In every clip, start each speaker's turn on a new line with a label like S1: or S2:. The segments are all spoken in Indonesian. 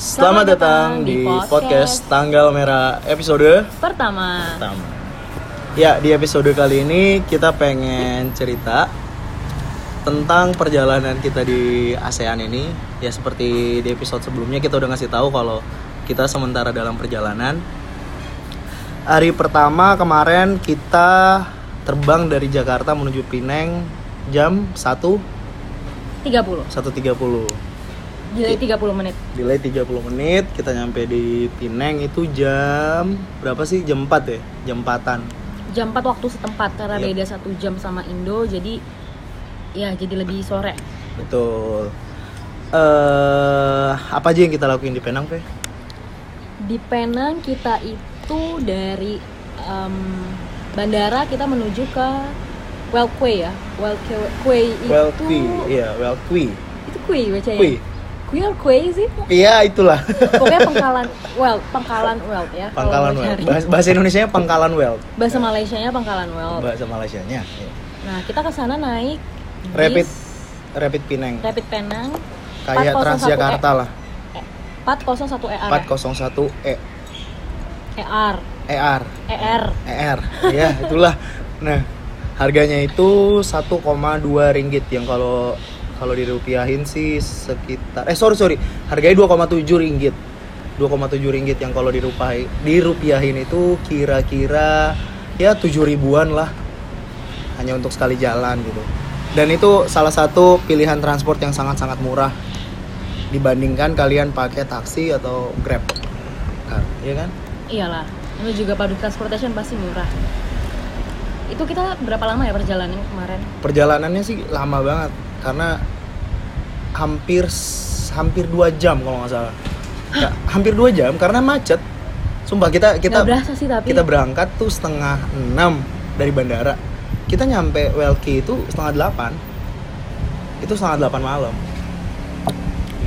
S1: Selamat datang di podcast Tanggal Merah episode
S2: pertama.
S1: pertama. Ya, di episode kali ini kita pengen cerita tentang perjalanan kita di ASEAN ini. Ya seperti di episode sebelumnya kita udah ngasih tahu kalau kita sementara dalam perjalanan. Hari pertama kemarin kita terbang dari Jakarta menuju Pineng jam 1
S2: 30.
S1: 1.30.
S2: Delay 30 menit.
S1: Delay 30 menit, kita nyampe di Pineng itu jam berapa sih? Jam 4 ya? Jam 4-an.
S2: Jam 4 waktu setempat karena
S1: Iya.
S2: beda satu jam sama Indo jadi ya jadi lebih sore.
S1: Betul. Eh, apa aja yang kita lakuin di Penang, Pe?
S2: Di Penang kita itu dari em, bandara kita menuju ke Welkwe ya. Welkwe Kwe itu
S1: Welkui. Iya, Welkui.
S2: itu Kui bacanya.
S1: Kui.
S2: Kui or Kwe sih?
S1: Iya, itulah.
S2: Pokoknya pangkalan Well, pangkalan Well ya. kalau
S1: Pangkalan
S2: mau
S1: Welt.
S2: cari.
S1: Bahasa, bahasa Indonesianya Pangkalan Welt.
S2: Bahasa Malaysianya pangkalan Well.
S1: Bahasa Malaysianya. iya.
S2: Nah, kita ke sana naik bis
S1: Rapid Rapid Pineng.
S2: Rapid Penang
S1: Kayak
S2: 401
S1: Transjakarta lah.
S2: 401 ER.
S1: 401 E
S2: ER.
S1: ER.
S2: ER.
S1: ER ya itulah nah harganya itu 1,2 ringgit yang kalau kalau dirupiahin sih sekitar eh sorry sorry harganya 2,7 ringgit 2,7 ringgit yang kalau dirupai dirupiahin itu kira-kira ya 7 ribuan lah hanya untuk sekali jalan gitu dan itu salah satu pilihan transport yang sangat-sangat murah dibandingkan kalian pakai taksi atau grab Nah, Iya kan
S2: Iyalah. Ini juga public transportation pasti murah. Itu kita berapa lama ya perjalanan kemarin?
S1: perjalanannya sih lama banget karena hampir s- hampir dua jam kalau nggak salah Ya, hampir dua jam karena macet sumpah kita kita
S2: Nggak iya. berasa sih tapi
S1: kita berangkat tuh setengah enam dari bandara kita nyampe Welki itu setengah delapan itu setengah delapan malam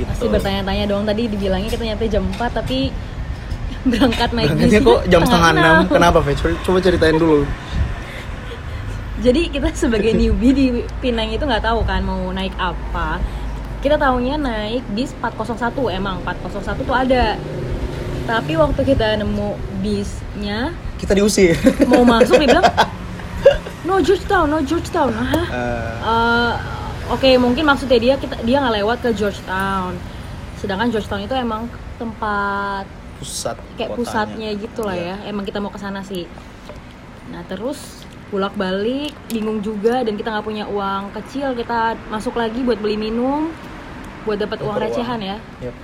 S1: gitu.
S2: pasti bertanya-tanya dong tadi dibilangnya kita nyampe jam 4 tapi berangkat naik
S1: Berangkatnya
S2: bis
S1: kok jam setengah enam
S2: enam.
S1: kenapa Fe? Coba- coba ceritain dulu
S2: Jadi kita sebagai newbie di Pinang itu nggak tahu kan mau naik apa. Kita taunya naik bis 401 emang 401 tuh ada. Tapi waktu kita nemu bisnya
S1: kita diusir
S2: mau masuk dibilang no Georgetown, no Georgetown. Hah?
S1: Eh,
S2: Eh, Oke, mungkin maksudnya dia kita dia nggak lewat ke Georgetown. Sedangkan Georgetown itu emang tempat
S1: pusat
S2: kayak
S1: kotanya.
S2: pusatnya gitu lah
S1: Iya.
S2: ya. Emang kita mau ke sana sih. Nah, terus bolak balik bingung juga dan kita nggak punya uang kecil kita masuk lagi buat beli minum buat dapat uang
S1: Dapat uang.
S2: recehan ya
S1: Yep.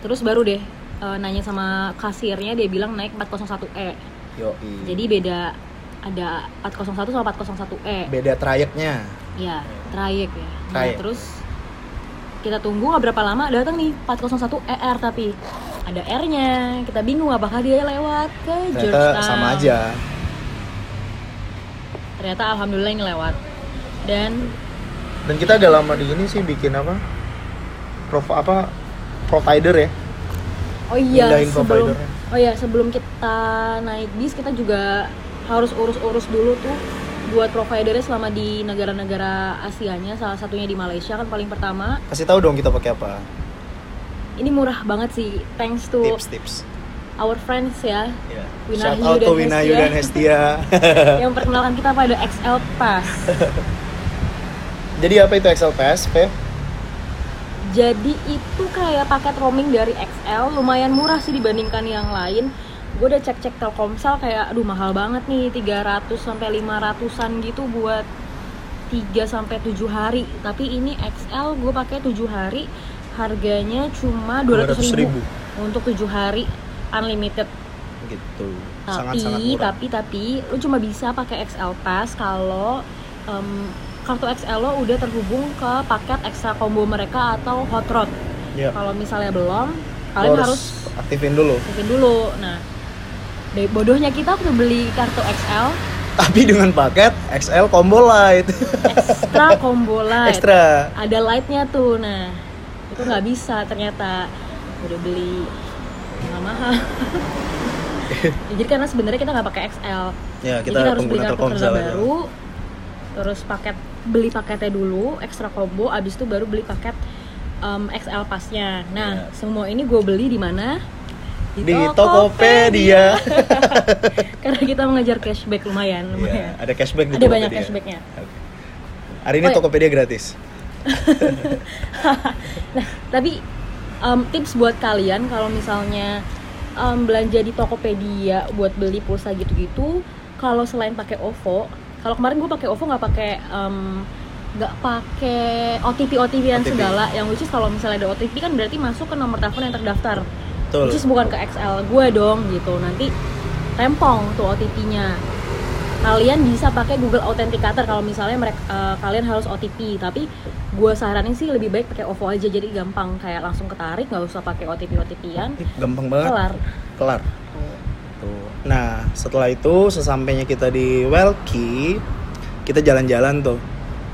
S2: terus baru deh eh, nanya sama kasirnya dia bilang naik 401e
S1: Yoi.
S2: jadi beda ada 401 sama 401e
S1: beda trayeknya
S2: E. ya trayek ya Nah,
S1: Trayek.
S2: terus kita tunggu nggak berapa lama datang nih 401 ER tapi ada R-nya kita bingung apakah dia lewat ke
S1: ternyata
S2: Georgetown
S1: sama aja
S2: ternyata alhamdulillah ini lewat dan
S1: dan kita agak lama di ini sih bikin apa prof apa provider ya
S2: oh iya
S1: Pindahin
S2: sebelum
S1: providernya.
S2: oh iya sebelum kita naik bis kita juga harus urus-urus dulu tuh buat providernya selama di negara-negara Asianya salah satunya di Malaysia kan paling pertama
S1: kasih tahu dong kita pakai apa
S2: ini murah banget sih thanks to
S1: tips tips
S2: our friends ya
S1: Ya.
S2: Winayu
S1: shout out
S2: dan
S1: to Winayu
S2: Hestia.
S1: dan Hestia
S2: yang perkenalkan kita pada XL Pass
S1: jadi apa itu Excel Pass Feb?
S2: jadi itu kayak paket roaming dari XL lumayan murah sih dibandingkan yang lain gue udah cek-cek Telkomsel kayak aduh mahal banget nih 300 sampai 500-an gitu buat 3 sampai 7 hari tapi ini XL gue pakai 7 hari harganya cuma 200 ribu,
S1: 200.000.
S2: untuk 7 hari unlimited
S1: gitu
S2: tapi
S1: sangat sangat murah
S2: tapi tapi lu cuma bisa pakai XL Pass kalau em, kartu XL lo udah terhubung ke paket extra combo mereka atau hot rod
S1: Ya.
S2: kalau misalnya belum
S1: Lo
S2: kalian harus
S1: harus aktifin dulu
S2: aktifin dulu nah dari bodohnya kita waktu beli kartu XL
S1: tapi dengan paket XL Combo Light
S2: extra combo light
S1: extra
S2: ada lightnya tuh nah itu nggak bisa ternyata udah beli nggak mahal Ya, jadi karena sebenarnya kita nggak pakai XL
S1: ya
S2: Jadi
S1: kita
S2: harus beli
S1: pengguna
S2: kartu kerja
S1: Telkomsel aja.
S2: baru, terus paket beli paketnya dulu, extra combo, abis itu baru beli paket em, XL pasnya.
S3: Iya.
S2: Nah, semua ini gue beli di mana?
S1: Di Tokopedia.
S2: Karena kita mengejar cashback lumayan.
S3: Iya,
S2: lumayan.
S1: Ada cashback di
S2: Ada banyak
S1: Tokopedia.
S2: cashbacknya.
S1: Oke. Hari ini
S2: Oh, iya.
S1: Tokopedia gratis.
S2: Nah, tapi em, tips buat kalian kalau misalnya em, belanja di Tokopedia buat beli pulsa gitu-gitu, kalau selain pakai OVO, kalau kemarin gue pakai OVO nggak pakai em, nggak pakai OTP OTP dan
S1: OTP.
S2: segala yang which is kalau misalnya ada OTP kan berarti masuk ke nomor telepon yang terdaftar
S1: Betul.
S2: which is bukan ke XL gue dong gitu nanti rempong tuh OTP-nya kalian bisa pakai Google Authenticator kalau misalnya mereka eh, kalian harus OTP tapi gue saranin sih lebih baik pakai OVO aja jadi gampang kayak langsung ketarik nggak usah pakai OTP OTP-an
S1: Ih, Gampang banget.
S2: kelar
S1: Kelar. Tuh. Nah, setelah itu sesampainya kita di Welki, kita jalan-jalan tuh.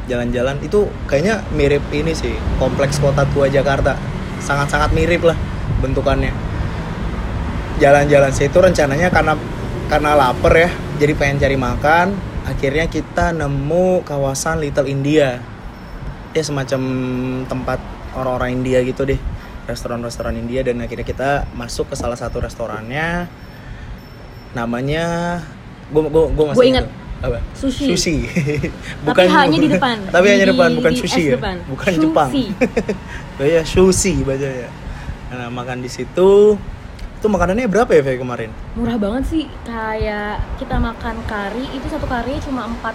S1: Jalan-jalan itu kayaknya mirip ini sih, kompleks kota tua Jakarta. Sangat-sangat mirip lah bentukannya. Jalan-jalan sih itu rencananya karena karena lapar ya, jadi pengen cari makan. Akhirnya kita nemu kawasan Little India. Ya semacam tempat orang-orang India gitu deh restoran-restoran India dan akhirnya kita masuk ke salah satu restorannya namanya gue gue gue masih
S2: Gua ingat.
S1: ingat. apa
S2: sushi,
S1: sushi
S2: tapi hanya di depan
S1: tapi hanya depan bukan
S2: di
S1: sushi
S2: es
S1: ya
S2: depan.
S1: bukan
S2: Sushi.
S1: Jepang Oh iya, sushi bacanya nah makan di situ itu makanannya berapa ya Fe, kemarin
S2: murah banget sih kayak kita makan kari itu satu karinya cuma empat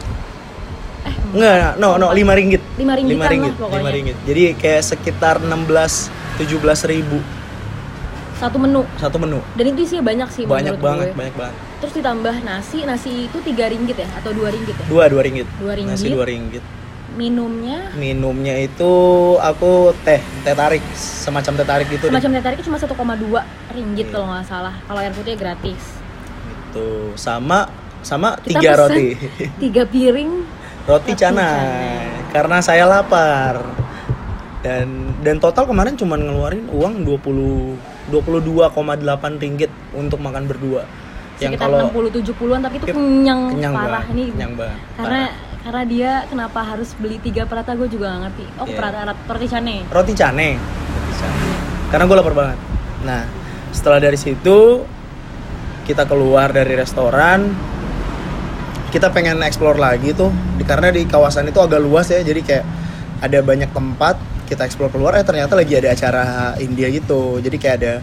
S2: eh
S1: enggak no no lima ringgit
S2: lima ringgitan
S1: lima ringgit
S2: lah
S1: lima
S2: pokoknya
S1: ringgit jadi kayak sekitar 16 17 ribu
S2: satu menu
S1: satu menu
S2: dan itu isinya banyak sih
S1: banyak
S2: menurut
S1: banget
S2: gue.
S1: banyak banget
S2: terus ditambah nasi nasi itu tiga ringgit ya atau dua ringgit ya
S1: dua dua ringgit
S2: dua ringgit
S1: nasi dua ringgit
S2: minumnya
S1: minumnya itu aku teh teh tarik semacam teh tarik gitu deh
S2: semacam teh tariknya cuma 1,2 ringgit
S1: Iya.
S2: kalau nggak salah kalau air putihnya gratis
S1: gitu sama sama
S2: Kita
S1: tiga
S2: pesen.
S1: roti
S2: tiga piring
S1: roti
S2: Roti
S1: canai
S2: canai.
S1: karena saya lapar dan dan total kemarin cuma ngeluarin uang 20 22,8 ringgit untuk makan berdua yang
S2: sekitar
S1: kalau
S2: 60-70an tapi itu
S1: Yep.
S2: kenyang,
S1: kenyang
S2: parah
S1: banget
S2: ini
S1: kenyang banget
S2: karena
S1: parah.
S2: karena dia kenapa harus beli tiga perata gue juga nggak ngerti oh
S1: Iya.
S2: perata roti canai
S1: roti canai karena gue lapar banget nah setelah dari situ kita keluar dari restoran kita pengen explore lagi tuh di- karena di kawasan itu agak luas ya jadi kayak ada banyak tempat kita explore keluar eh ternyata lagi ada acara India gitu jadi kayak ada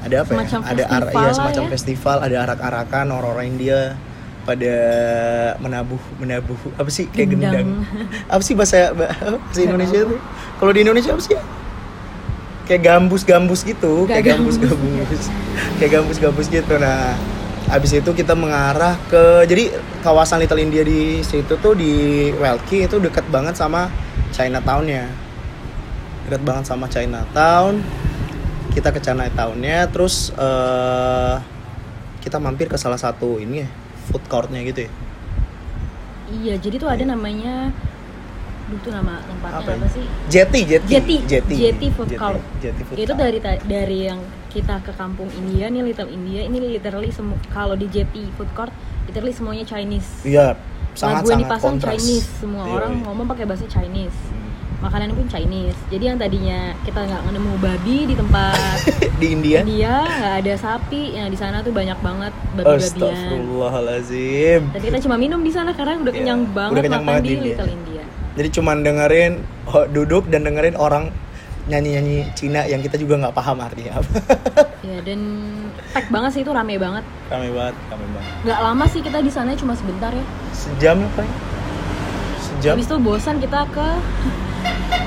S1: ada apa
S2: Semacam
S1: ya ada ar-
S2: festival
S1: iya,
S2: lah
S1: semacam
S2: ya.
S1: festival ada arak-arakan orang-orang India pada menabuh menabuh apa sih kayak gendang,
S2: Gendang.
S1: apa sih bahasa bahasa Indonesia itu kalau di Indonesia apa sih ya? kayak gambus-gambus gitu,
S2: Gak
S1: kayak
S2: gambus.
S1: gambus-gambus, kayak gambus-gambus gitu. Nah, abis itu kita mengarah ke, jadi kawasan Little India di situ tuh di Welki itu deket banget sama Chinatown-nya, deket banget sama Chinatown. Kita ke Chinatown-nya, terus eh, kita mampir ke salah satu ini ya, food court-nya gitu ya.
S2: iya jadi tuh ada namanya Duh, itu nama tempatnya
S1: Apa
S2: apa,
S1: ya?
S2: sih
S1: Jetty, Jetty,
S2: Jetty, Jetty Food Court.
S1: Jetty Food
S2: itu
S1: Court.
S2: dari ta- dari yang kita ke kampung India nih Little India ini literally semu- kalau di JT food court literally semuanya Chinese
S1: Iya,
S2: lagu
S1: sangat-sangat
S2: yang dipasang
S1: kontras.
S2: Chinese semua
S1: Iya,
S2: orang
S1: iya.
S2: ngomong pakai bahasa Chinese makanan pun Chinese jadi yang tadinya kita nggak nemu babi di tempat
S1: di India.
S2: India nggak ada sapi nah di sana tuh banyak banget babi-babian
S1: Astagfirullahalazim.
S2: dan kita cuma minum di sana karena udah
S1: Iya,
S2: kenyang
S1: udah
S2: banget
S1: kenyang
S2: makan
S1: banget
S2: di
S1: di India.
S2: Little India
S1: Jadi cuman dengerin oh, duduk dan dengerin orang nyanyi-nyanyi Cina yang kita juga nggak paham artinya apa.
S2: ya dan pack banget sih itu rame banget
S1: Kami banget, kami banget.
S2: nggak lama sih kita di sana cuma sebentar ya
S1: Sejam lah paling. Sejam.
S2: habis itu bosan kita ke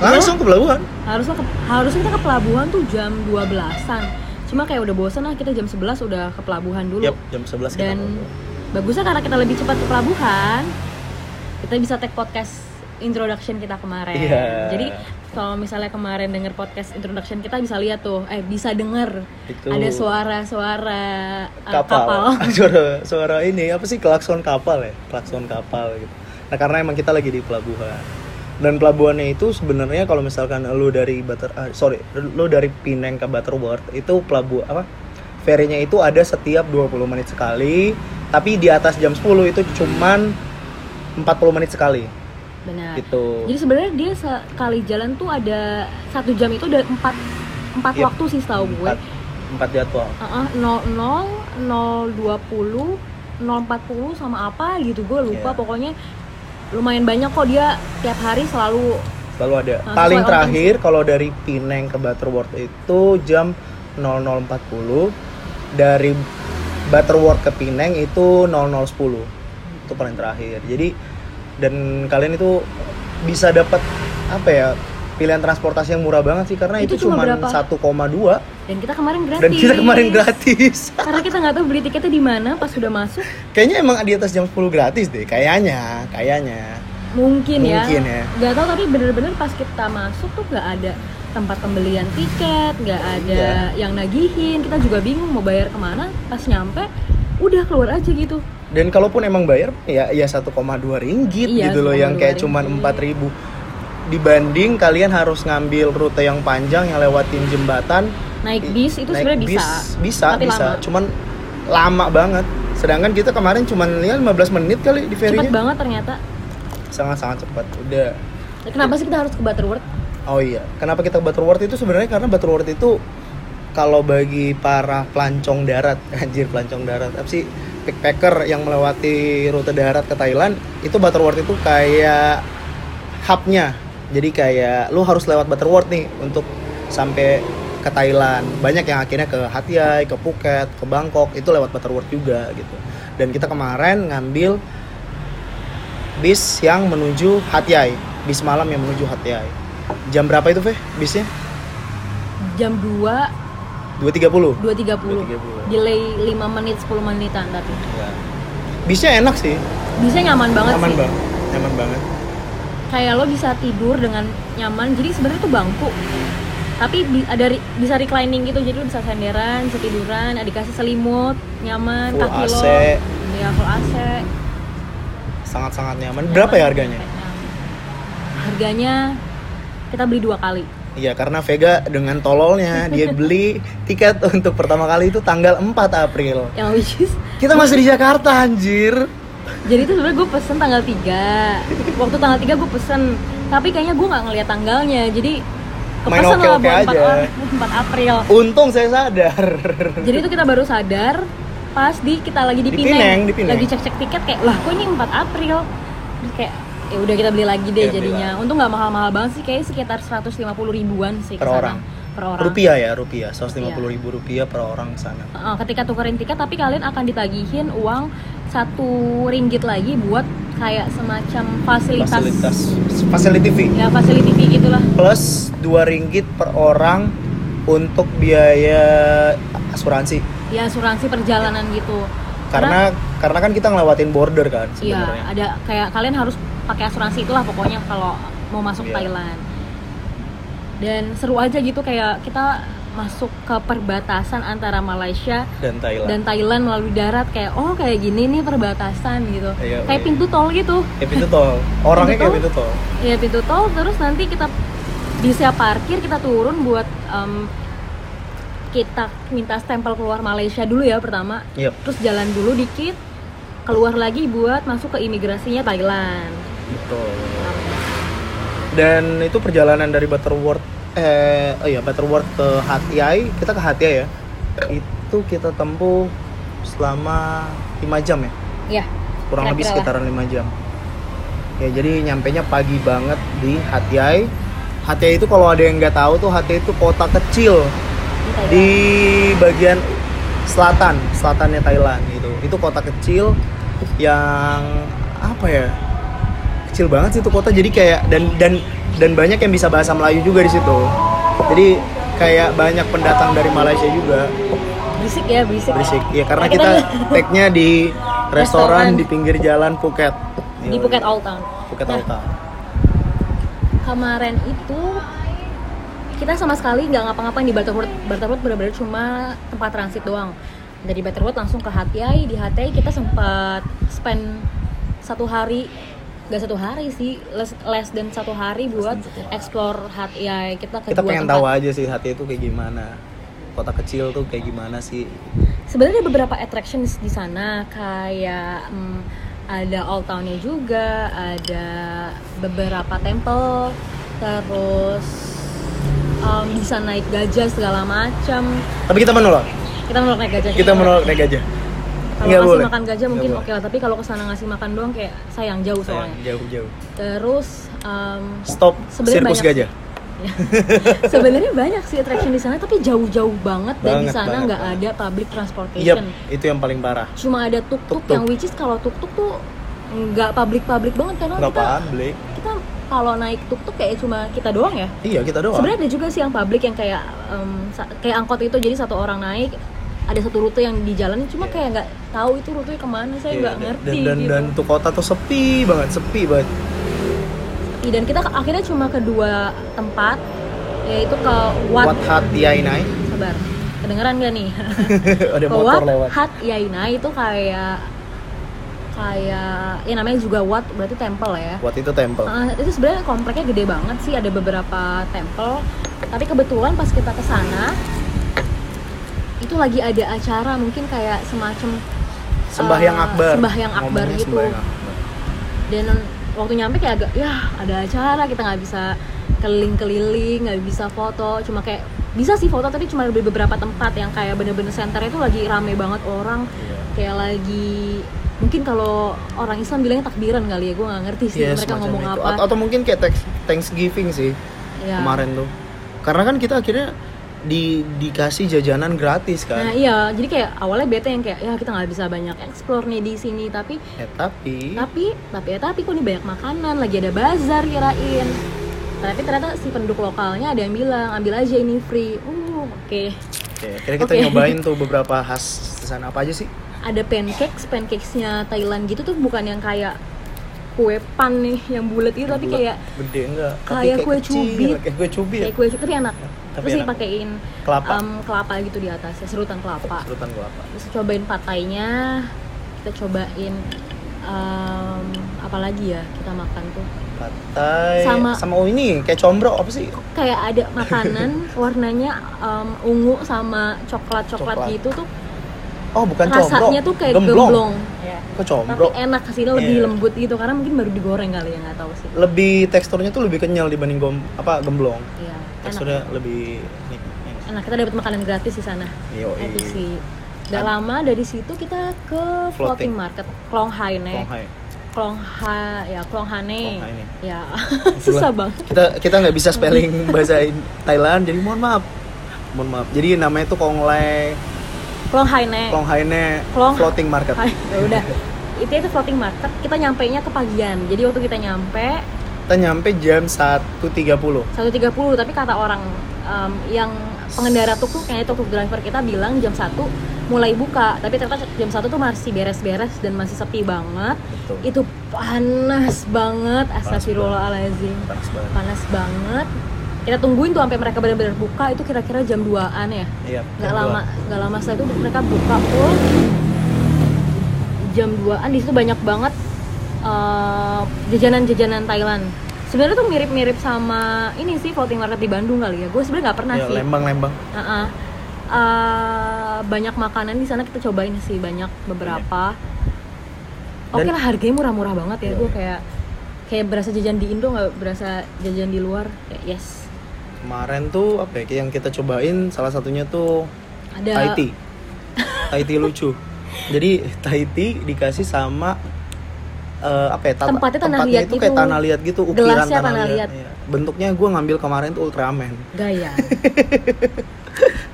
S1: Langsung ke pelabuhan.
S2: harusnya ke, harusnya kita ke pelabuhan tuh jam 12-an cuma kayak udah bosen lah kita jam 11 udah ke pelabuhan dulu
S1: Yap, jam 11 kita
S2: dan
S1: ke pelabuhan.
S2: bagusnya karena kita lebih cepat ke pelabuhan kita bisa take podcast introduction kita kemarin
S1: Iya.
S2: jadi kalau misalnya kemarin denger podcast introduction kita bisa lihat tuh eh bisa denger
S1: Itu
S2: ada suara-suara uh,
S1: Ah, kapal. suara suara ini apa sih klakson kapal ya? Klakson kapal gitu. Nah, karena emang kita lagi di pelabuhan. Dan pelabuhannya itu sebenarnya kalau misalkan lo dari Butter ah, sorry, lo dari Pineng ke Butterworth itu pelabuhan apa? Ferinya itu ada setiap 20 menit sekali, tapi di atas jam 10 itu cuman 40 menit sekali.
S2: benar
S1: gitu
S2: Nah, jadi sebenarnya dia sekali jalan tuh ada satu jam itu ada empat empat
S1: Iya.
S2: waktu sih setahu gue
S1: empat, empat jadwal
S2: Heeh, 00, 020, 040 sama apa gitu gue lupa
S1: Iya.
S2: pokoknya lumayan banyak kok dia tiap hari selalu
S1: selalu ada
S2: Nah,
S1: paling
S2: sesuai
S1: terakhir kalau dari Pineng ke Butterworth itu jam 00.40 dari Butterworth ke Pineng itu 00.10 itu paling terakhir jadi dan kalian itu bisa dapat apa ya pilihan transportasi yang murah banget sih karena itu,
S2: Itu
S1: cuma
S2: cuma
S1: 1,2
S2: berapa? dan kita kemarin gratis
S1: dan kita kemarin gratis
S2: karena kita nggak tahu beli tiketnya di mana pas sudah masuk
S1: kayaknya emang di atas jam 10 gratis deh kayaknya kayaknya
S2: mungkin,
S1: Mungkin ya.
S2: nggak tahu tapi bener-bener pas kita masuk tuh nggak ada tempat pembelian tiket nggak ada
S1: Iya.
S2: yang nagihin kita juga bingung mau bayar kemana pas nyampe udah keluar aja gitu
S1: dan kalaupun emang bayar ya ya 1,2 ringgit
S2: Iya,
S1: gitu loh yang kayak
S2: 1,2
S1: cuman
S2: ringgit.
S1: 4000 dibanding kalian harus ngambil rute yang panjang yang lewatin jembatan
S2: naik bis itu
S1: Iya, naik
S2: sebenarnya bisa
S1: bis, bisa
S2: tapi
S1: bisa
S2: lama.
S1: cuman lama banget sedangkan kita kemarin cuman ya 15 menit kali di
S2: cepet
S1: ferinya
S2: banget ternyata
S1: sangat-sangat cepat udah
S2: Ya, Kenapa sih kita harus ke Butterworth?
S1: oh iya kenapa kita ke Butterworth itu sebenarnya karena Butterworth itu kalau bagi para pelancong darat anjir pelancong darat apa sih backpacker yang melewati rute darat ke Thailand itu Butterworth itu kayak hubnya jadi kayak lu harus lewat Butterworth nih untuk sampai ke Thailand banyak yang akhirnya ke Hatyai ke Phuket ke Bangkok itu lewat Butterworth juga gitu dan kita kemarin ngambil bis yang menuju Hatyai bis malam yang menuju Hatyai jam berapa itu Feh bisnya
S2: Jam 2,
S1: 2.30 2.30.
S2: 2.30 Delay 5 menit, 10 menitan tapi
S1: Ya. Bisnya enak sih,
S2: Bisa nyaman banget
S1: nyaman
S2: sih
S1: banget, nyaman banget.
S2: Kayak lo bisa tidur dengan nyaman Jadi sebenarnya tuh bangku Tapi bi- ada re- bisa reclining gitu Jadi lo bisa senderan, bisa tiduran Ada dikasih selimut, nyaman
S1: Full
S2: Kaki lo
S1: AC.
S2: Ya full AC
S1: Sangat-sangat nyaman. Berapa ya
S2: Nyaman,
S1: harganya?
S2: Harganya kita beli dua kali
S1: Iya, karena Vega dengan tololnya dia beli tiket untuk pertama kali itu tanggal 4 April.
S2: Yang ya, which is
S1: Kita masih di Jakarta anjir.
S2: Jadi itu sebenarnya gue pesen tanggal 3 Waktu tanggal 3 gue pesen Tapi kayaknya gue nggak ngeliat tanggalnya Jadi
S1: Main
S2: kepesen lah
S1: oke-oke
S2: buat 4,
S1: aja.
S2: orang- 4 April
S1: Untung saya sadar.
S2: Jadi itu kita baru sadar Pas di kita lagi di,
S1: Di Pineng, di Pineng.
S2: Lagi cek-cek tiket kayak Lah kok ini 4 April Terus kayak ya udah kita beli lagi deh
S1: Ya, beli
S2: jadinya
S1: lagi.
S2: Untung nggak mahal-mahal banget sih Kayaknya sekitar 150 ribuan sih
S1: Per
S2: kesana.
S1: orang.
S2: Per orang Iya.
S1: Rupiah ya, rupiah. 150 ribu rupiah per orang ke sana.
S2: Eh, Ketika tukerin tiket tapi kalian akan ditagihin uang satu ringgit lagi buat kayak semacam fasilitas,
S1: Fasilitas facility fee.
S2: ya facility fee gitulah
S1: Plus 2 ringgit per orang untuk biaya asuransi.
S2: ya asuransi perjalanan gitu
S1: Karena karena kan kita ngelewatin border kan
S2: iya
S1: sebenarnya.
S2: ada kayak kalian harus pakai asuransi itulah pokoknya kalau mau masuk
S1: Iya.
S2: Thailand dan seru aja gitu kayak kita masuk ke perbatasan antara Malaysia
S1: dan Thailand.
S2: dan Thailand melalui darat kayak oh kayak gini nih perbatasan gitu
S1: Iya,
S2: kayak
S1: iya.
S2: pintu tol gitu
S1: Kayak pintu tol. Orangnya kayak pintu
S2: Pintu
S1: tol.
S2: ya pintu tol terus nanti kita bisa parkir kita turun buat em, kita minta stempel keluar Malaysia dulu ya pertama
S1: Iya.
S2: terus jalan dulu dikit keluar lagi buat masuk ke imigrasinya Thailand
S1: Betul. Dan itu perjalanan dari Butterworth eh oh iya Butterworth ke Hatiai, kita ke Hatiai ya. Itu kita tempuh selama 5 jam ya.
S2: ya
S1: Kurang lebih
S2: Kira-kira
S1: sekitaran 5 jam. Ya jadi nyampenya pagi banget di Hatiai. Hatiai itu kalau ada yang nggak tahu tuh Hatiai itu kota kecil
S2: di Thailand.
S1: di bagian selatan, selatannya Thailand gitu. Itu kota kecil yang apa ya? Kecil banget sih itu kota jadi kayak dan dan dan banyak yang bisa bahasa Melayu juga di situ. Jadi kayak banyak pendatang dari Malaysia juga
S2: berisik ya berisik
S1: berisik. Ya karena
S2: Nah,
S1: kita tag-nya di restoran
S2: Restoran.
S1: di pinggir jalan Phuket.
S2: di Phuket Old Town
S1: Phuket
S2: Nah,
S1: Alta.
S2: kemarin itu kita sama sekali nggak ngapa-ngapain di Butterworth Butterworth benar-benar cuma tempat transit doang dari Butterworth langsung ke Hatyai di Hatyai kita sempat spend satu hari nggak satu hari sih less, less than satu hari buat
S1: than satu hari.
S2: explore Hatyai kita ke
S1: Kita
S2: dua
S1: pengen tahu
S2: tempat.
S1: aja sih hati itu kayak gimana. Kota kecil tuh kayak gimana sih?
S2: sebenarnya ada beberapa attractions di sana kayak mm, ada old townnya juga ada mm, beberapa temple terus em, bisa naik gajah segala macam
S1: Tapi kita menolak.
S2: kita menolak naik gajah
S1: Kita menolak naik aja.
S2: kalau
S1: Nggak
S2: ngasih
S1: boleh.
S2: makan gajah mungkin
S1: Nggak
S2: oke lah tapi kalau kesana ngasih makan doang kayak sayang jauh
S1: Sayang,
S2: soalnya
S1: jauh-jauh.
S2: terus em,
S1: Stop
S2: Sebenarnya
S1: sirkus gajah.
S2: banyak- sebenarnya banyak sih attraction di sana tapi jauh-jauh banget, dan di
S1: Banget,
S2: sana
S1: banget,
S2: nggak
S1: banget.
S2: ada public
S1: Iya,
S2: transportation
S1: itu yang paling parah.
S2: cuma ada tuk-tuk
S1: Tuk-tuk.
S2: yang which is kalau tuk-tuk tuh nggak public-public banget karena
S1: Nggak
S2: Oh, kita
S1: paham, Blake.
S2: kita kalau naik tuk-tuk kayak cuma kita doang ya
S1: Iya, kita doang.
S2: sebenarnya ada juga sih yang publik yang kayak em, sa- kayak angkot itu jadi satu orang naik ada satu rute yang dijalani cuma kayak nggak tahu itu rutenya kemana
S1: Iya,
S2: saya nggak
S1: dan-
S2: ngerti
S1: dan, dan,
S2: gitu
S1: dan tuh kota tuh sepi banget, sepi banget.
S2: Iya, dan kita akhirnya cuma kedua tempat yaitu ke Wat,
S1: Wat Hat Yainai.
S2: sabar kedengeran gak nih
S1: Ada
S2: ke
S1: motor
S2: Wat
S1: lewat.
S2: Hat Yaina itu kayak kayak ya namanya juga Wat berarti temple ya
S1: Wat itu temple.
S2: Uh, itu sebenarnya kompleknya gede banget sih, ada beberapa temple. Tapi kebetulan pas kita ke sana itu lagi ada acara mungkin kayak semacam
S1: Sembahyang
S2: uh,
S1: Akbar.
S2: sembahyang Akbar
S1: Ngomongnya
S2: gitu.
S1: sembahyang Akbar.
S2: dan waktu nyampe kayak agak ya ada acara kita nggak bisa keliling-keliling, nggak bisa foto, cuma kayak bisa sih foto tapi cuma di beberapa tempat yang kayak bener-bener senternya itu lagi rame banget orang
S1: Iya.
S2: kayak lagi mungkin kalau orang Islam bilangnya takbiran kali ya gue nggak ngerti sih
S1: Iya,
S2: mereka
S1: semacam
S2: ngomong
S1: itu.
S2: apa
S1: Atau, atau mungkin kayak thanks- Thanksgiving sih
S2: Ya.
S1: kemarin tuh. Karena kan kita akhirnya di dikasih jajanan gratis kan.
S2: Nah iya, jadi kayak awalnya bete yang kayak ya kita nggak bisa banyak explore nih di sini, tapi
S1: Eh tapi
S2: tapi tapi ya tapi kok ini banyak makanan, lagi ada bazar kirain. Tapi ternyata si penduduk lokalnya ada yang bilang ambil aja ini free. Uh, oke.
S1: Oke, akhirnya kita
S2: Oke.
S1: nyobain tuh beberapa khas di sana apa aja sih?
S2: Ada pancakes, pancakesnya Thailand gitu tuh bukan yang kayak kue pan nih yang bulat itu, Iya, tapi
S1: Bulat,
S2: kayak
S1: gede enggak? Tapi
S2: kayak kue
S1: kecil,
S2: cubit.
S1: Kayak kue cubit.
S2: kayak kue tapi enak.
S1: Tapi
S2: Terus
S1: enak.
S2: dipakein
S1: Kelapa.
S2: em, kelapa gitu di atasnya, serutan kelapa.
S1: Serutan kelapa.
S2: Terus cobain patainya, kita cobain em, apa lagi ya kita makan tuh.
S1: Patai sama,
S2: Sama-
S1: oh ini kayak combro apa sih?
S2: Kayak ada makanan warnanya em, ungu sama
S1: Coklat.
S2: coklat-coklat gitu tuh.
S1: Oh, bukan combro.
S2: rasanya tuh kayak gemblong.
S1: Kok
S2: Tapi
S1: combro?
S2: enak hasilnya lebih
S1: Iya.
S2: lembut gitu karena mungkin baru digoreng kali ya nggak tahu sih.
S1: Lebih teksturnya tuh lebih kenyal dibanding gom, apa gemblong.
S2: Iya, enak.
S1: Teksturnya lebih nikmat.
S2: Enak kita dapat makanan gratis di sana.
S1: Yoi.
S2: Itu sih. Gak lama dari situ kita ke
S1: Floating.
S2: floating, market Klonghaine.
S1: Konghai.
S2: Klongha ya Klonghane.
S1: Klonghaine.
S2: Ya. Susah banget.
S1: Kita kita nggak bisa spelling bahasa In- Thailand, jadi mohon maaf. Mohon maaf. Jadi namanya tuh Konglai,
S2: Klonghaine.
S1: Klonghaine
S2: Klong-
S1: Floating Market.
S2: Hai, ya udah. Itu itu floating market. Kita nyampe nya ke pagian. Jadi waktu kita nyampe
S1: Kita nyampe jam 1.30.
S2: 1.30 tapi kata orang em, yang pengendara tuk kayaknya tuk driver kita bilang jam 1 mulai buka. Tapi ternyata jam 1 tuh masih beres-beres dan masih sepi banget.
S1: Betul.
S2: Itu panas banget. Astagfirullahalazim.
S1: Panas banget.
S2: Panas banget. Kita tungguin tuh sampai mereka benar-benar buka itu kira-kira jam 2-an ya.
S1: Iya.
S2: nggak lama nggak lama setelah itu mereka buka full jam 2an di situ banyak banget eh, jajanan-jajanan Thailand sebenarnya tuh mirip-mirip sama ini sih floating market di Bandung kali ya gue sebenarnya nggak pernah
S1: Ya,
S2: sih
S1: Lembang-lembang.
S2: Heeh. Eh, banyak makanan di sana kita cobain sih banyak beberapa oke
S1: Iya. Dan-
S2: lah harganya murah-murah banget ya
S1: Iya.
S2: gue kayak kayak berasa jajan di Indo nggak berasa jajan di luar kayak yes
S1: Kemarin tuh apa ya yang kita cobain salah satunya tuh
S2: ada
S1: Thai tea. Thai tea lucu. Jadi Thai tea dikasih sama eh, apa ya? tata-
S2: Tempatnya tanah liat
S1: itu kayak
S2: gitu.
S1: tanah liat gitu, ukiran
S2: Gelasnya tanah liat.
S1: Iya. Bentuknya gue ngambil kemarin tuh Ultraman.
S2: gaya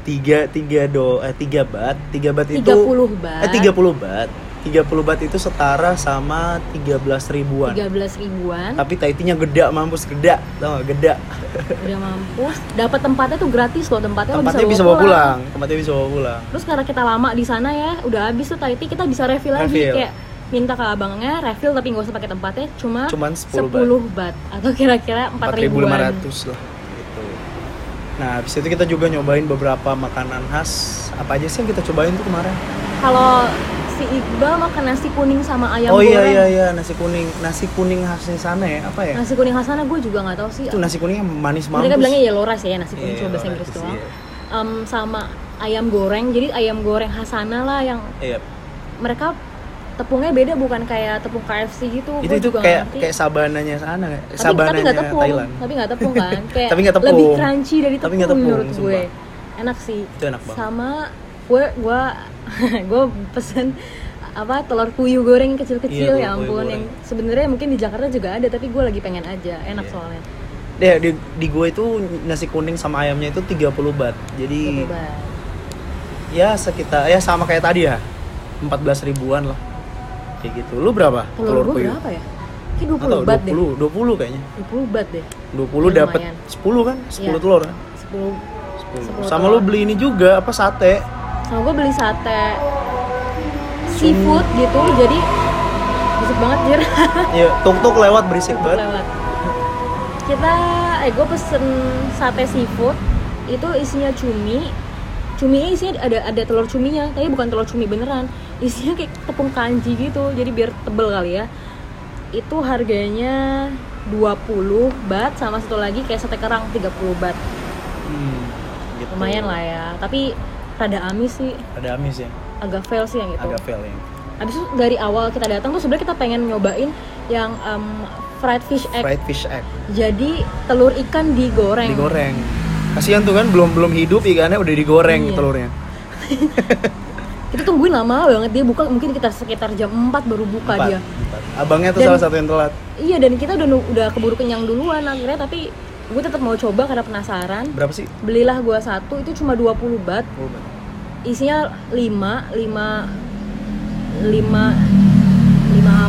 S1: Tiga tiga do eh tiga bat, tiga bat itu
S2: 30 baht
S1: eh 30 bat. 30 bat itu setara sama 13 ribuan.
S2: 13 ribuan
S1: Tapi Thai tea-nya geda mampus geda, tau gak? Geda.
S2: udah mampus dapat tempatnya tuh gratis loh tempatnya, lo
S1: Tempatnya bisa bawa pulang, tempatnya bisa bawa pulang.
S2: terus karena kita lama di sana ya udah habis tuh Taiti kita bisa refill lagi
S1: Refill.
S2: kayak minta ke abangnya refill tapi nggak usah pakai tempatnya cuma
S1: Cuman 10 bat.
S2: 10 baht atau kira-kira 4 ribuan
S1: 4.500 lah gitu. Nah, habis itu kita juga nyobain beberapa makanan khas. Apa aja sih yang kita cobain tuh kemarin?
S2: kalau si Iqbal makan nasi kuning sama ayam
S1: oh iya
S2: goreng
S1: iya iya, nasi kuning. Nasi kuning khasnya sana ya, apa ya?
S2: nasi kuning khas sana gue juga nggak tahu sih
S1: Itu nasi kuning yang manis mampus.
S2: mereka bilangnya yellow rice ya nasi kuning
S1: Iya,
S2: cuma bahasa
S1: orang
S2: Inggris
S1: itu sih,
S2: doang
S1: iya.
S2: Em, sama ayam goreng jadi ayam goreng khas sana lah yang
S1: Iya,
S2: mereka tepungnya beda bukan kayak tepung KFC gitu
S1: itu
S2: Gua
S1: itu
S2: juga
S1: kayak
S2: ngerti.
S1: kayak sabananya sana kayak
S2: tapi, tapi
S1: sabananya
S2: nggak tepung
S1: Thailand
S2: tapi nggak tepung kan kayak
S1: Tapi nggak tepung.
S2: lebih crunchy dari
S1: Tapi
S2: tepung,
S1: nggak tepung,
S2: menurut gue enak sih
S1: itu enak banget
S2: sama gue gue gue pesen apa telur puyuh goreng yang
S1: Iya,
S2: kecil-kecil ya
S1: telur puyuh
S2: ampun yang sebenarnya mungkin di Jakarta juga ada tapi gue lagi pengen aja enak
S1: Iya.
S2: soalnya
S1: Deh, di, di gue itu nasi kuning sama ayamnya itu 30 baht jadi
S2: Coba.
S1: ya sekitar ya sama kayak tadi ya 14 ribuan lah kayak gitu lu berapa
S2: telur gue
S1: puyuh?
S2: berapa ya kayak
S1: Nggak tahu,
S2: 20 bat deh
S1: 20 20 kayaknya
S2: 20 bat deh
S1: 20
S2: Ya,
S1: dapat
S2: lumayan.
S1: 10 kan 10
S2: Iya.
S1: telur kan
S2: 10
S1: 10.
S2: 10
S1: sama
S2: telur.
S1: lu beli ini juga apa sate
S2: sama gue Nah, beli sate seafood gitu jadi busuk banget jir
S1: ya tuk-tuk lewat berisik banget
S2: lewat kita eh gue pesen sate seafood itu isinya cumi cuminya isinya ada ada telur cuminya tapi bukan telur cumi beneran isinya kayak tepung kanji gitu jadi biar tebel kali ya itu harganya 20 bat sama satu lagi kayak sate kerang 30 bat
S1: Hmm, gitu.
S2: lumayan lah ya Gitu. tapi rada amis sih
S1: ada amis ya
S2: agak fail sih yang itu
S1: agak fail ya
S2: Abis itu dari awal kita datang tuh sebenarnya kita pengen nyobain yang em, fried fish egg.
S1: fried fish egg
S2: Jadi telur ikan digoreng.
S1: digoreng kasihan tuh kan belum belum hidup ikannya udah digoreng
S2: Iya.
S1: telurnya
S2: Kita tungguin lama banget dia buka mungkin kita sekitar jam 4 baru buka
S1: Empat,
S2: dia.
S1: empat. abangnya tuh
S2: Dan-
S1: salah satu yang telat
S2: Iya dan kita udah nu- udah keburu kenyang duluan akhirnya tapi gue tetap mau coba karena penasaran.
S1: berapa sih
S2: Belilah gua satu itu cuma 20 bat, isinya 5, 5 5 lima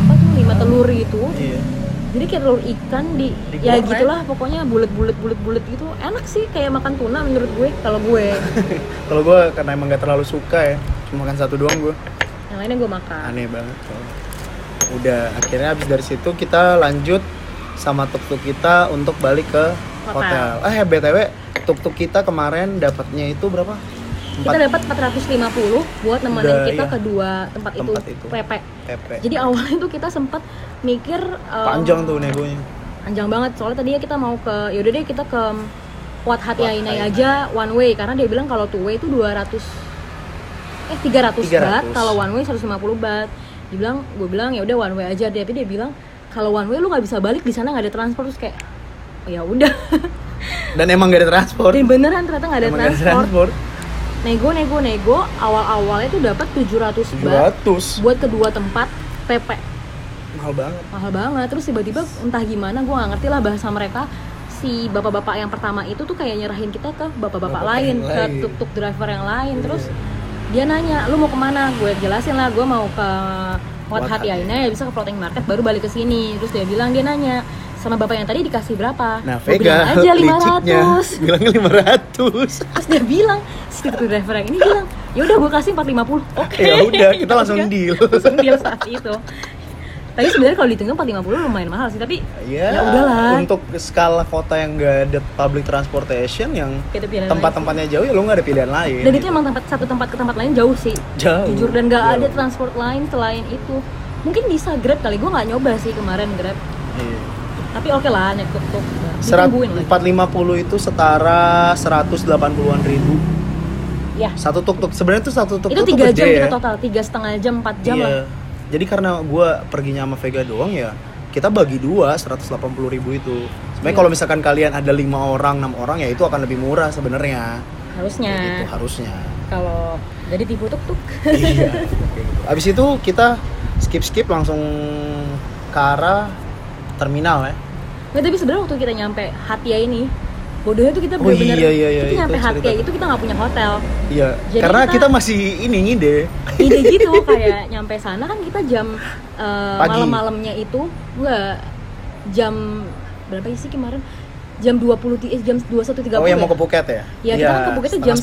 S2: apa tuh? 5 telur gitu.
S1: iya
S2: jadi kayak telur ikan di
S1: Digoreng.
S2: ya gitulah pokoknya bulat bulat bulat bulat gitu enak sih kayak makan tuna menurut gue kalau gue
S1: kalau gue karena emang gak terlalu suka ya cuma makan satu doang gue
S2: yang lainnya gue makan
S1: aneh banget tuh. udah akhirnya abis dari situ kita lanjut sama tuk-tuk kita untuk balik ke hotel,
S2: Hotel.
S1: eh btw tuk-tuk kita kemarin dapatnya itu berapa
S2: kita
S1: empat
S2: dapat 450 buat nemenin
S1: Udah,
S2: kita
S1: iya.
S2: kedua tempat,
S1: Tempat
S2: itu,
S1: itu.
S2: PP
S1: TP
S2: jadi awalnya tuh kita sempat mikir um,
S1: panjang tuh negonya
S2: panjang banget soalnya tadinya kita mau ke yaudah deh kita ke Wat Hati
S1: Wat
S2: Ainai
S1: Hai.
S2: aja one way karena dia bilang kalau two way itu 200 eh 300, bat
S1: 300.
S2: kalau one way 150 bat dia bilang gue bilang ya udah one way aja deh tapi dia bilang kalau one way lu nggak bisa balik di sana nggak ada transport terus kayak "Oh, ya udah
S1: dan emang gak ada transport
S2: dan beneran ternyata Iya, nggak ada
S1: emang gak ada
S2: transport
S1: transport
S2: nego nego nego awal awalnya tuh dapat 700 bat
S1: 700
S2: buat kedua tempat PP
S1: mahal banget
S2: mahal banget terus tiba-tiba entah gimana gue nggak ngerti lah bahasa mereka si bapak-bapak yang pertama itu tuh kayak nyerahin kita ke
S1: Bapak
S2: bapak-bapak lain
S1: yang
S2: ke
S1: lain.
S2: tuk-tuk driver yang lain
S1: Iya.
S2: terus dia nanya lu mau kemana gue jelasin lah gue mau ke
S1: Wat
S2: Wat Hati
S1: Hati.
S2: Aina ya bisa ke floating market baru balik ke sini terus dia bilang dia nanya sama bapak yang tadi dikasih berapa
S1: Nah,
S2: Gue bilang
S1: Vega
S2: aja
S1: liciknya
S2: 500
S1: bilangnya 500.
S2: terus dia bilang si tuk-tuk driver yang ini bilang ya udah gue kasih 450 oke
S1: ya udah, kita langsung
S2: udah.
S1: deal.
S2: langsung deal saat itu tapi sebenarnya kalau dihitung 450 lumayan mahal sih tapi
S1: Ya,
S2: Ya udahlah.
S1: Untuk skala kota yang gak ada public transportation yang
S2: kita pilihan lain
S1: tempat-tempatnya jauh ya lu gak ada pilihan
S2: sih.
S1: lain.
S2: dan itu emang tempat satu tempat ke tempat lain jauh sih
S1: jauh.
S2: jujur dan nggak
S1: Jauh.
S2: ada transport lain selain itu mungkin bisa grab kali gue nggak nyoba sih kemarin grab
S1: Iya.
S2: tapi oke lah naik tuk tuk
S1: Serat
S2: ditungguin lagi
S1: 450 itu setara 180-an ribu.
S2: ya
S1: Satu tuk-tuk. Sebenarnya tuh satu tuk-tuk
S2: itu
S1: tuh
S2: tiga
S1: gede
S2: jam
S1: ya.
S2: kita total tiga setengah jam empat jam
S1: Iya.
S2: lah
S1: Jadi karena gua perginya sama Vega doang ya, kita bagi dua 180 ribu itu. Sebenarnya
S2: Iya.
S1: kalau misalkan kalian ada lima orang, enam orang ya itu akan lebih murah sebenarnya.
S2: harusnya
S1: Kayak gitu harusnya.
S2: kalau jadi tipu tuk tuk
S1: iya. kayak gitu. Abis itu kita skip skip langsung ke arah terminal ya.
S2: Nggak, tapi sebenarnya waktu kita nyampe Hatia ini bodohnya tuh kita
S1: Oh,
S2: bener-bener
S1: iya, iya, iya,
S2: kita nyampe
S1: itu
S2: Hatia
S1: cerita.
S2: itu kita nggak punya hotel
S1: Iya.
S2: Jadi
S1: Karena kita...
S2: kita-
S1: masih ini ngide.
S2: ide gitu kayak nyampe sana kan kita jam eh,
S1: Pagi.
S2: malam-malamnya itu gua jam berapa sih kemarin jam 20 ti- eh, jam 21.30
S1: Oh yang
S2: ya?
S1: mau ke Phuket ya?
S2: ya kita kan ke Phuket tuh jam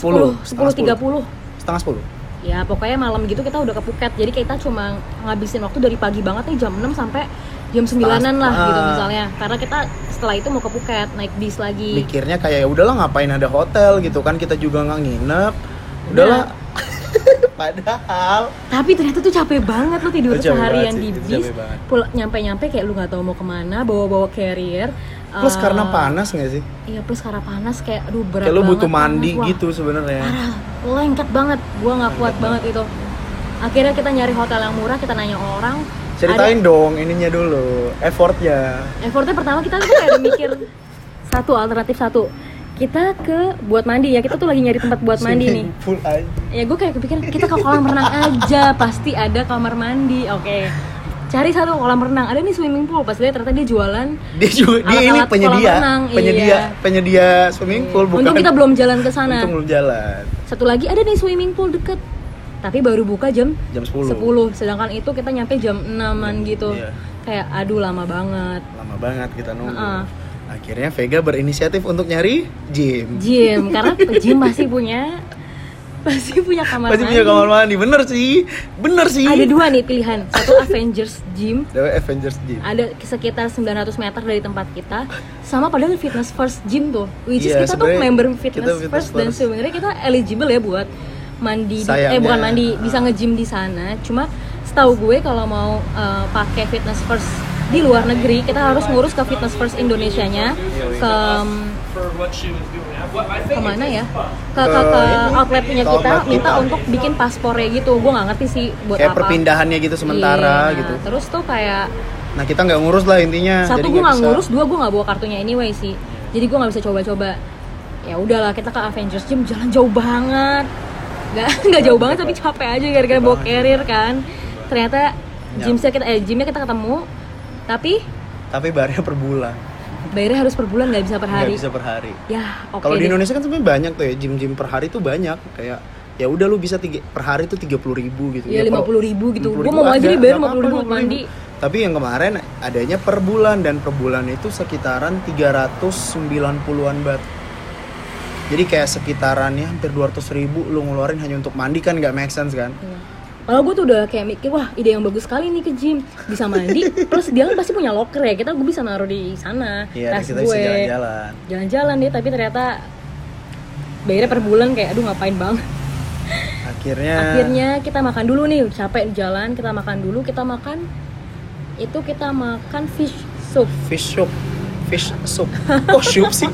S2: 10 10.30
S1: Setengah sepuluh.
S2: ya pokoknya malam gitu kita udah ke Phuket jadi kita cuma ngabisin waktu dari pagi banget nih jam 6 sampai jam 9-an lah
S1: Ah.
S2: gitu misalnya karena kita setelah itu mau ke Phuket naik bis lagi
S1: Mikirnya kayak ya udahlah ngapain ada hotel gitu kan kita juga nggak nginep.
S2: Iya.
S1: Udahlah. Padahal
S2: tapi ternyata tuh capek banget lo tidur
S1: Itu capek banget
S2: seharian
S1: sih,
S2: di
S1: itu
S2: bis
S1: capek banget.
S2: pul- nyampe-nyampe kayak lu nggak tahu mau kemana bawa-bawa carrier
S1: plus
S2: Eh,
S1: karena panas nggak sih?
S2: iya plus karena panas kayak aduh berat
S1: Kayak lu butuh
S2: banget,
S1: mandi
S2: panas. Wah,
S1: gitu sebenarnya.
S2: parah lengket banget gua nggak kuat
S1: banget.
S2: banget itu akhirnya kita nyari hotel yang murah kita nanya orang
S1: Ceritain dong ininya dulu, effortnya.
S2: ada, effortnya pertama kita tuh kayak mikir satu alternatif satu kita ke buat mandi ya kita tuh lagi nyari tempat buat mandi nih
S1: Swimming Pool aja.
S2: ya gue kayak kepikiran kita ke kolam renang aja pasti ada kamar mandi oke cari satu kolam renang ada nih swimming pool pas lihat ternyata dia jualan
S1: Dia juga, dia ini
S2: Alat-alat kolam
S1: penyedia,
S2: renang,
S1: penyedia,
S2: iya.
S1: penyedia swimming pool bukan.
S2: untung kita belum jalan ke sana
S1: untung belum jalan.
S2: satu lagi ada nih swimming pool deket tapi baru buka jam
S1: Jam 10.
S2: 10, sedangkan itu kita nyampe jam 6an gitu
S1: Iya.
S2: kayak aduh lama banget
S1: Lama banget kita nunggu.
S2: Heeh.
S1: Akhirnya Vega berinisiatif untuk nyari gym.
S2: gym karena gym pasti punya pasti punya kamar
S1: Pasti punya
S2: mandi.
S1: kamar mandi, bener sih, bener sih.
S2: ada dua nih pilihan satu Avengers gym
S1: Ada Avengers gym.
S2: ada sekitar 900 meter dari tempat kita sama padahal fitness first gym tuh which
S1: Iya,
S2: is kita tuh
S1: sebenarnya
S2: member
S1: kita
S2: fitness,
S1: fitness
S2: first, dan
S1: first.
S2: sebenarnya kita eligible ya buat mandi di- eh
S1: Sayangnya.
S2: bukan mandi bisa nge-gym di sana cuma setahu gue kalau mau eh, pakai fitness first di luar negeri kita harus ngurus ke fitness first Indonesianya ke mm, kemana ya ke ke, ke
S1: Ke-
S2: outlet punya
S1: ke
S2: kita
S1: outlet
S2: minta
S1: kita.
S2: untuk bikin paspornya gitu gue nggak ngerti sih buat
S1: Kayak
S2: apa
S1: perpindahannya gitu sementara
S2: Iya,
S1: gitu.
S2: terus tuh kayak
S1: Nah kita nggak ngurus lah intinya.
S2: satu
S1: Nah, jadi
S2: gue nggak
S1: bisa.
S2: ngurus dua gue nggak bawa kartunya anyway sih jadi gue nggak bisa coba-coba ya udahlah kita ke Avengers Gym jalan jauh banget nggak nggak jauh banget tapi capek aja gara-gara bawa carrier kan ternyata gymnya kita eh gymnya kita ketemu tapi
S1: Tapi bayarnya per bulan,
S2: bayarnya harus per bulan nggak bisa per
S1: nggak
S2: hari
S1: bisa per hari.
S2: ya oke
S1: Kalau di
S2: deh.
S1: Indonesia kan sebenarnya banyak tuh ya gym-gym per hari tuh banyak kayak ya udah lu bisa tiga, per hari tuh tiga puluh ribu gitu.
S2: Iya,
S1: per-
S2: 50.000 gitu.
S1: 50.000
S2: Gua mau aja
S1: ada,
S2: dibayar
S1: nggak apa-apa,
S2: 50.000 buat mandi.
S1: Tapi yang kemarin adanya per bulan dan per bulan itu sekitaran 390-an bat. Jadi kayak sekitarannya hampir 200.000 ribu lu ngeluarin hanya untuk mandi kan nggak make sense kan?
S2: Iya. Malah gue tuh udah kayak mikir, wah ide yang bagus sekali nih ke gym Bisa mandi, plus dia kan pasti punya locker ya Kita gue bisa naruh di sana
S1: Iya, dan
S2: tas
S1: kita
S2: gue.
S1: bisa jalan-jalan.
S2: jalan-jalan deh tapi ternyata bayarnya per bulan kayak aduh ngapain banget
S1: Akhirnya,
S2: akhirnya kita makan dulu nih capek di jalan kita makan dulu kita makan itu kita makan fish soup
S1: fish soup, fish soup. Kok soup sih?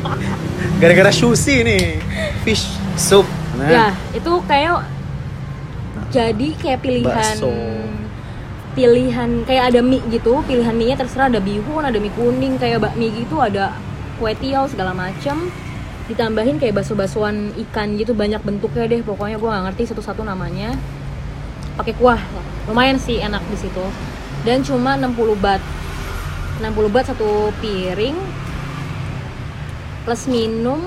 S1: Gara-gara sushi nih. Fish soup. Nah.
S2: ya itu kayak jadi kayak pilihan
S1: Bakso.
S2: pilihan kayak ada mie gitu pilihan mie nya terserah ada bihun ada mie kuning kayak bakmi gitu ada kue tiaw segala macem ditambahin kayak baso-basuan ikan gitu banyak bentuknya deh pokoknya gue nggak ngerti satu-satu namanya pakai kuah lumayan sih enak di situ dan cuma 60 bat 60 bat satu piring plus minum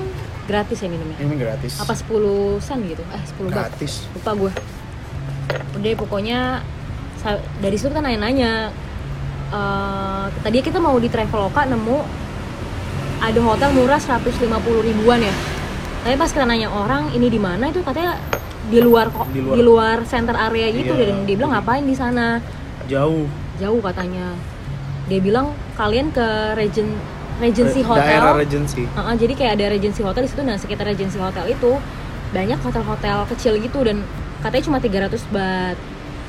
S2: gratis ya minumnya
S1: Ini gratis.
S2: apa 10 sen gitu eh 10 bat
S1: gratis.
S2: lupa gue udah pokoknya sa- dari situ kita nanya-nanya Eh, tadi kita mau di traveloka nemu ada hotel murah 150 ribuan ya tapi pas kita nanya orang ini di mana itu katanya di luar kok di
S1: Di luar.
S2: luar, center area gitu
S1: Iya.
S2: dan dia bilang ngapain di sana
S1: Jauh.
S2: jauh katanya dia bilang kalian ke region
S1: Re-
S2: regency hotel
S1: Eh, Daerah regency.
S2: Heeh, jadi kayak ada regency hotel di situ dan sekitar regency hotel itu banyak hotel-hotel kecil gitu dan katanya cuma 300 bat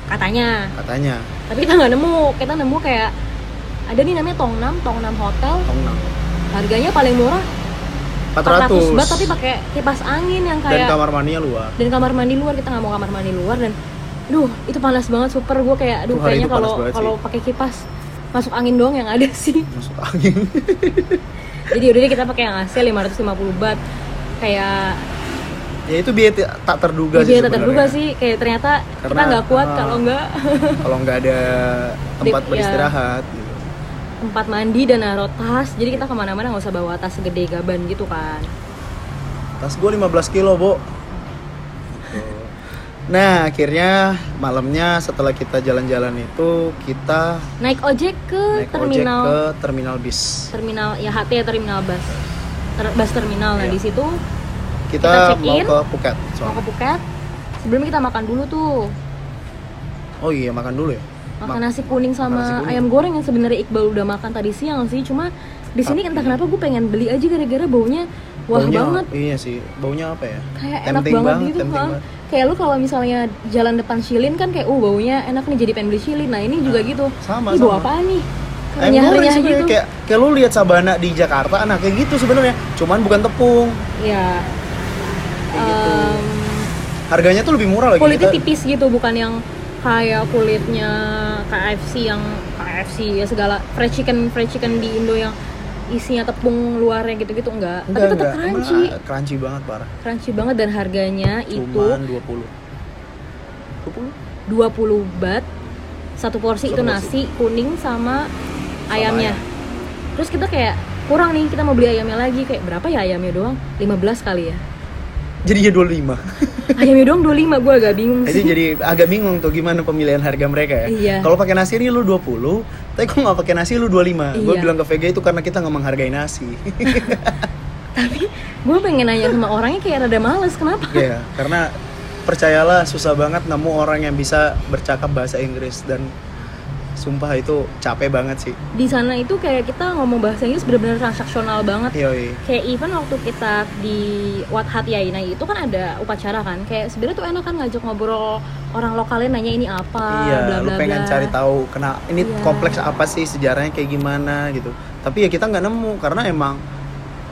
S2: katanya
S1: Katanya.
S2: tapi kita nggak nemu kita nemu kayak ada nih namanya Tongnam Tongnam Hotel
S1: Tongnam.
S2: harganya paling murah
S1: 400.
S2: 400 bat tapi pakai kipas angin yang
S1: dan
S2: kayak
S1: kamar mandinya luar.
S2: dan kamar mandi luar kita nggak mau kamar mandi luar dan duh itu panas banget super gue kayak aduh
S1: Tuh, hari
S2: kayaknya
S1: itu panas
S2: kalau
S1: banget sih.
S2: kalau pakai kipas masuk angin doang yang ada sih
S1: Masuk angin.
S2: jadi udah deh kita pakai yang AC 550 bat kayak
S1: ya itu biaya ti- tak terduga sih.
S2: Iya tak
S1: sebenarnya.
S2: terduga sih kayak ternyata kita
S1: Karena,
S2: nggak kuat
S1: ah.
S2: kalau nggak
S1: Kalau nggak ada tempat
S2: Di- ya.
S1: beristirahat. gitu.
S2: tempat mandi dan naruh tas jadi kita kemana-mana nggak usah bawa tas segede gaban gitu kan
S1: Tas gue 15 kilo, Bo. Nah, akhirnya malamnya setelah kita jalan-jalan itu kita
S2: naik ojek ke
S1: naik
S2: terminal
S1: ojek ke terminal bis.
S2: terminal ya HT ya terminal bus Ter- bus terminal nah
S1: Iya.
S2: di situ Kita
S1: Kita,
S2: check
S1: mau
S2: in.
S1: ke Phuket.
S2: mau
S1: soalnya.
S2: ke Phuket sebelum kita makan dulu tuh
S1: Oh iya, makan dulu ya.
S2: makan
S1: Ma-
S2: nasi kuning sama
S1: nasi kuning.
S2: ayam goreng yang sebenarnya Iqbal udah makan tadi siang sih cuma di sini
S1: Tapi-
S2: entah kenapa gue pengen beli aja gara-gara baunya wah
S1: Baunya-
S2: banget
S1: Iya sih, baunya apa ya?
S2: kayak enak
S1: Tempting
S2: banget, gitu
S1: tempting
S2: kan
S1: banget.
S2: kayak lu kalau misalnya jalan depan Shilin kan kayak uh baunya enak nih jadi pengen beli Shilin nah ini juga
S1: Nah,
S2: gitu
S1: sama,
S2: Ih,
S1: sama.
S2: bau apaan nih
S1: Ayam
S2: Renyah-
S1: goreng
S2: renyah
S1: sebenarnya
S2: gitu
S1: Eh, kayak kayak lu lihat sabana di Jakarta nah kayak gitu sebenarnya cuman bukan tepung
S2: ya
S1: Kayak gitu. Oh,
S2: em, Ah.
S1: harganya tuh lebih murah lagi
S2: kulitnya
S1: Kita-
S2: tipis gitu bukan yang kayak kulitnya KFC yang KFC ya segala fried chicken fried chicken di Indo yang isinya tepung luarnya gitu-gitu enggak, tapi tetap
S1: Emang,
S2: crunchy
S1: ah, crunchy banget parah.
S2: crunchy banget dan harganya itu
S1: Cuman 20. 20?
S2: 20 bat satu porsi
S1: Satu
S2: itu
S1: porsi.
S2: nasi kuning sama ayamnya
S1: ayam.
S2: terus kita kayak kurang nih kita mau beli ayamnya lagi kayak berapa ya ayamnya doang 15 kali ya
S1: Jadi ya 25.
S2: ayamnya doang 25 gue agak bingung
S1: Jadi
S2: sih
S1: jadi agak bingung tuh gimana pemilihan harga mereka ya.
S2: Iya.
S1: Kalau pakai nasi ini lu 20, tapi kalau nggak pakai nasi lu 25. Gue
S2: Iya.
S1: bilang ke VG itu karena kita nggak menghargai nasi.
S2: gue pengen nanya sama orangnya kayak rada males kenapa
S1: Iya, karena percayalah susah banget nemu orang yang bisa bercakap bahasa Inggris dan sumpah itu capek banget sih.
S2: di sana itu kayak kita ngomong bahasa Inggris bener-bener transaksional banget
S1: Yoi.
S2: kayak even waktu kita di Wat Hat Yainai itu kan ada upacara kan kayak sebenarnya tuh enak kan ngajak ngobrol orang lokalnya nanya ini apa
S1: iya,
S2: Ah, bla
S1: lu
S2: bla
S1: pengen
S2: bla.
S1: cari tahu kena ini
S2: Iya.
S1: kompleks apa sih sejarahnya kayak gimana gitu. Tapi ya kita nggak nemu karena emang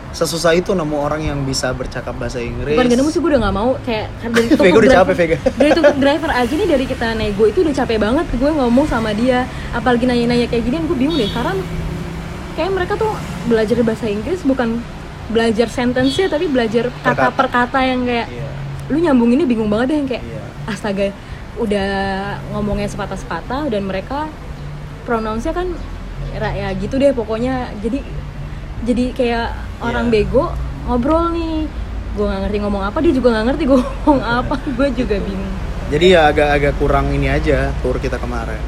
S1: sesusah itu nemu orang yang bisa bercakap bahasa Inggris.
S2: bukan gak nemu sih gue udah gak mau kayak kan dari
S1: Vega
S2: tukang
S1: udah
S2: driver-
S1: capek Vega.
S2: dari tukang driver aja nih dari kita nego itu udah capek banget gue ngomong sama dia apalagi nanya-nanya kayak gini gue bingung deh karena kayak mereka tuh belajar bahasa Inggris bukan belajar sentence tapi belajar kata
S1: Perkata.
S2: per kata yang kayak
S1: Iya,
S2: lu nyambung ini bingung banget deh yang kayak
S1: iya.
S2: astaga udah ngomongnya sepatah-sepatah dan mereka pronounce-nya kan ra- ya gitu deh pokoknya jadi jadi kayak orang
S1: Iya.
S2: bego ngobrol nih gue nggak ngerti ngomong apa dia juga nggak ngerti gue ngomong
S1: Iya.
S2: apa gue juga bingung
S1: Jadi ya agak-agak kurang ini aja tour kita kemarin.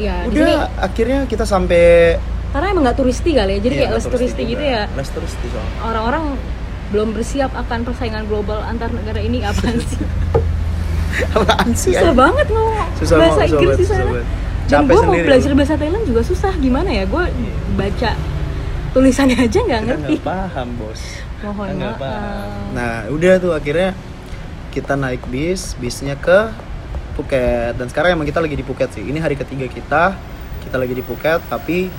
S2: ya di sini
S1: Udah akhirnya kita sampai
S2: karena emang nggak turisti kali ya
S1: Iya,
S2: jadi kayak
S1: nggak
S2: less turisti
S1: juga.
S2: gitu ya
S1: Les turisti soalnya.
S2: orang-orang belum bersiap akan persaingan global antar negara ini apa sih
S1: Apaan sih?
S2: susah banget mau
S1: Susah
S2: bahasa
S1: banget,
S2: Inggris di
S1: susah
S2: sana
S1: banget.
S2: dan
S1: Capek
S2: gue mau
S1: sendiri
S2: belajar
S1: lu.
S2: bahasa Thailand juga susah gimana ya gue
S1: Iya.
S2: baca tulisannya aja nggak
S1: Kita
S2: ngerti
S1: nggak paham bos.
S2: mohon
S1: Nggak
S2: maaf Eh,
S1: paham. Nah, udah tuh akhirnya kita naik bis, bisnya ke Phuket. Dan sekarang emang kita lagi di Phuket sih. Ini hari ketiga kita, kita lagi di Phuket, tapi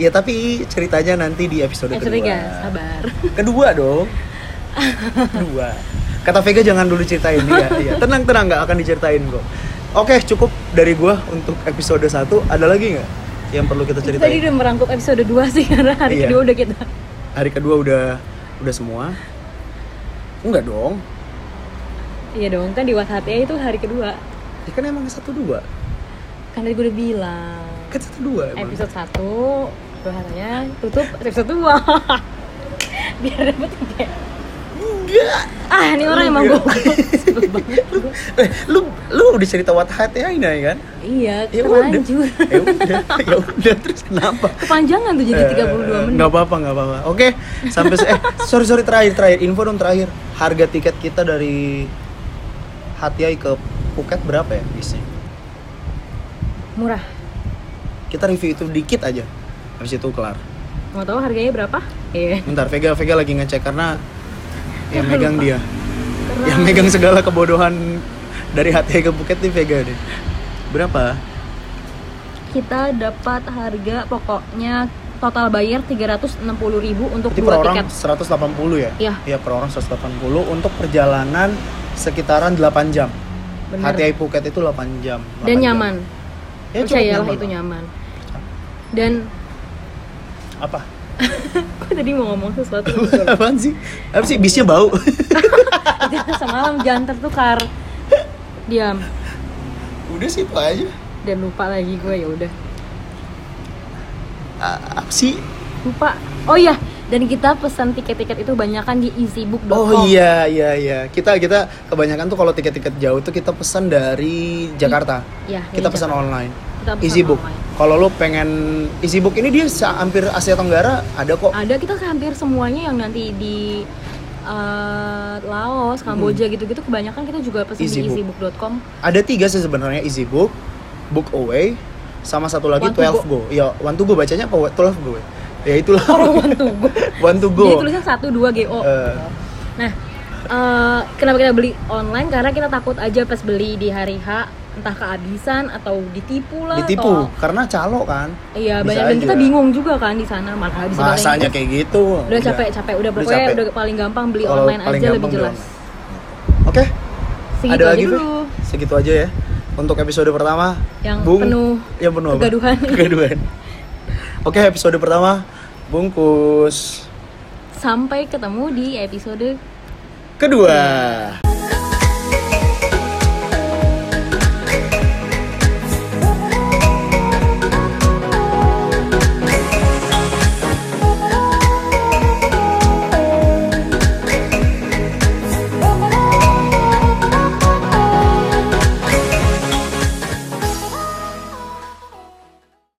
S1: Ya tapi ceritanya nanti di episode,
S2: episode
S1: Nah, kedua.
S2: tiga sabar
S1: Kedua dong. Kedua. Kata Vega jangan dulu ceritain ya. Iya, tenang tenang nggak akan diceritain kok. Oke, cukup dari gua untuk episode 1. Ada lagi nggak yang perlu kita
S2: Itu tadi
S1: ceritain?
S2: udah merangkup episode 2 sih karena hari
S1: Iya.
S2: kedua udah kita
S1: Hari kedua udah udah semua. Enggak dong.
S2: iya dong kan di WhatsApp itu hari kedua
S1: Ya kan emang satu dua,
S2: kan tadi gue udah bilang
S1: kan satu dua emang.
S2: episode 1 bahannya tutup episode 2 biar dapet tiga
S1: Enggak.
S2: ah ini orang emang
S1: Iya.
S2: gue banget gua.
S1: Eh, lu lu udah cerita what hat ya ini kan?
S2: iya
S1: Ya udah.
S2: terlanjur
S1: Ya udah, ya udah terus kenapa?
S2: kepanjangan tuh
S1: Eh,
S2: jadi 32 menit
S1: Enggak apa-apa, enggak apa-apa. Oke, sampai se- eh sorry sorry terakhir terakhir info dong terakhir. Harga tiket kita dari Hatiai ke Phuket berapa ya bisnya?
S2: murah
S1: Kita review itu dikit aja. Habis itu kelar.
S2: mau tahu harganya berapa iya
S1: Bentar, Vega Vega lagi ngecek karena yang
S2: Lupa.
S1: megang dia.
S2: Karena-
S1: Yang megang segala kebodohan dari Hatiai ke Phuket nih Vega deh. Berapa?
S2: kita dapat harga pokoknya total bayar 360.000 untuk
S1: Berarti per
S2: dua
S1: orang
S2: tiket
S1: 180 ya?
S2: Iya.
S1: Iya, per orang 180 untuk perjalanan sekitaran 8 jam.
S2: Bener.
S1: HTI Phuket itu 8 jam. 8
S2: dan
S1: jam.
S2: nyaman
S1: Ya, cukup
S2: percayalah
S1: nyaman
S2: itu
S1: lah.
S2: nyaman dan
S1: Apa?
S2: gue tadi mau ngomong sesuatu
S1: Apaan sih? Apa sih bisnya bau?
S2: jangan semalam jangan tertukar diam
S1: Udah sih itu aja.
S2: dan lupa lagi gue ya udah
S1: A- Apa sih?
S2: lupa oh iya dan kita pesan tiket-tiket itu banyak kan di
S1: Oh
S2: easybook.com
S1: iya iya iya. Kita kita kebanyakan tuh kalau tiket-tiket jauh tuh kita pesan dari Jakarta.
S2: Iya, dari
S1: kita pesan
S2: Jakarta.
S1: online.
S2: Kita pesan ya?
S1: Easybook.
S2: online.
S1: Kalau lo pengen Easybook ini dia se- hampir Asia Tenggara ada kok.
S2: ada kita hampir semuanya yang nanti di eh, Laos, Kamboja
S1: Hmm.
S2: gitu-gitu kebanyakan kita juga pesan di
S1: Easybook.
S2: easybook.com
S1: ada tiga sih sebenarnya easy book book away sama satu lagi
S2: One to
S1: 12 go. ya one to go bacanya apa 12 go ya? ya itulah one to go one to go
S2: Jadi tulisnya 1 2 GO.
S1: Eh.
S2: Nah, eh, kenapa kita beli online? Karena kita takut aja pas beli di hari H entah kehabisan atau ditipu lah
S1: ditipu
S2: atau
S1: karena calo kan
S2: iya
S1: Bisa
S2: banyak dan
S1: aja.
S2: kita bingung juga kan di sana malah kehabisan bahasa
S1: bahasanya
S2: Inggris.
S1: kayak gitu
S2: udah capek capek udah
S1: Udah
S2: pokoknya
S1: capek.
S2: udah paling gampang beli
S1: Kalau
S2: online
S1: paling
S2: aja lebih
S1: gampang beli
S2: jelas
S1: oke
S2: segitu
S1: Ada
S2: aja
S1: lagi, Fe?
S2: dulu
S1: segitu aja ya untuk episode pertama
S2: Yang
S1: Bung-
S2: penuh
S1: yang penuh apa?
S2: kegaduhan.
S1: kegaduhan oke episode pertama bungkus
S2: Sampai ketemu di episode
S1: kedua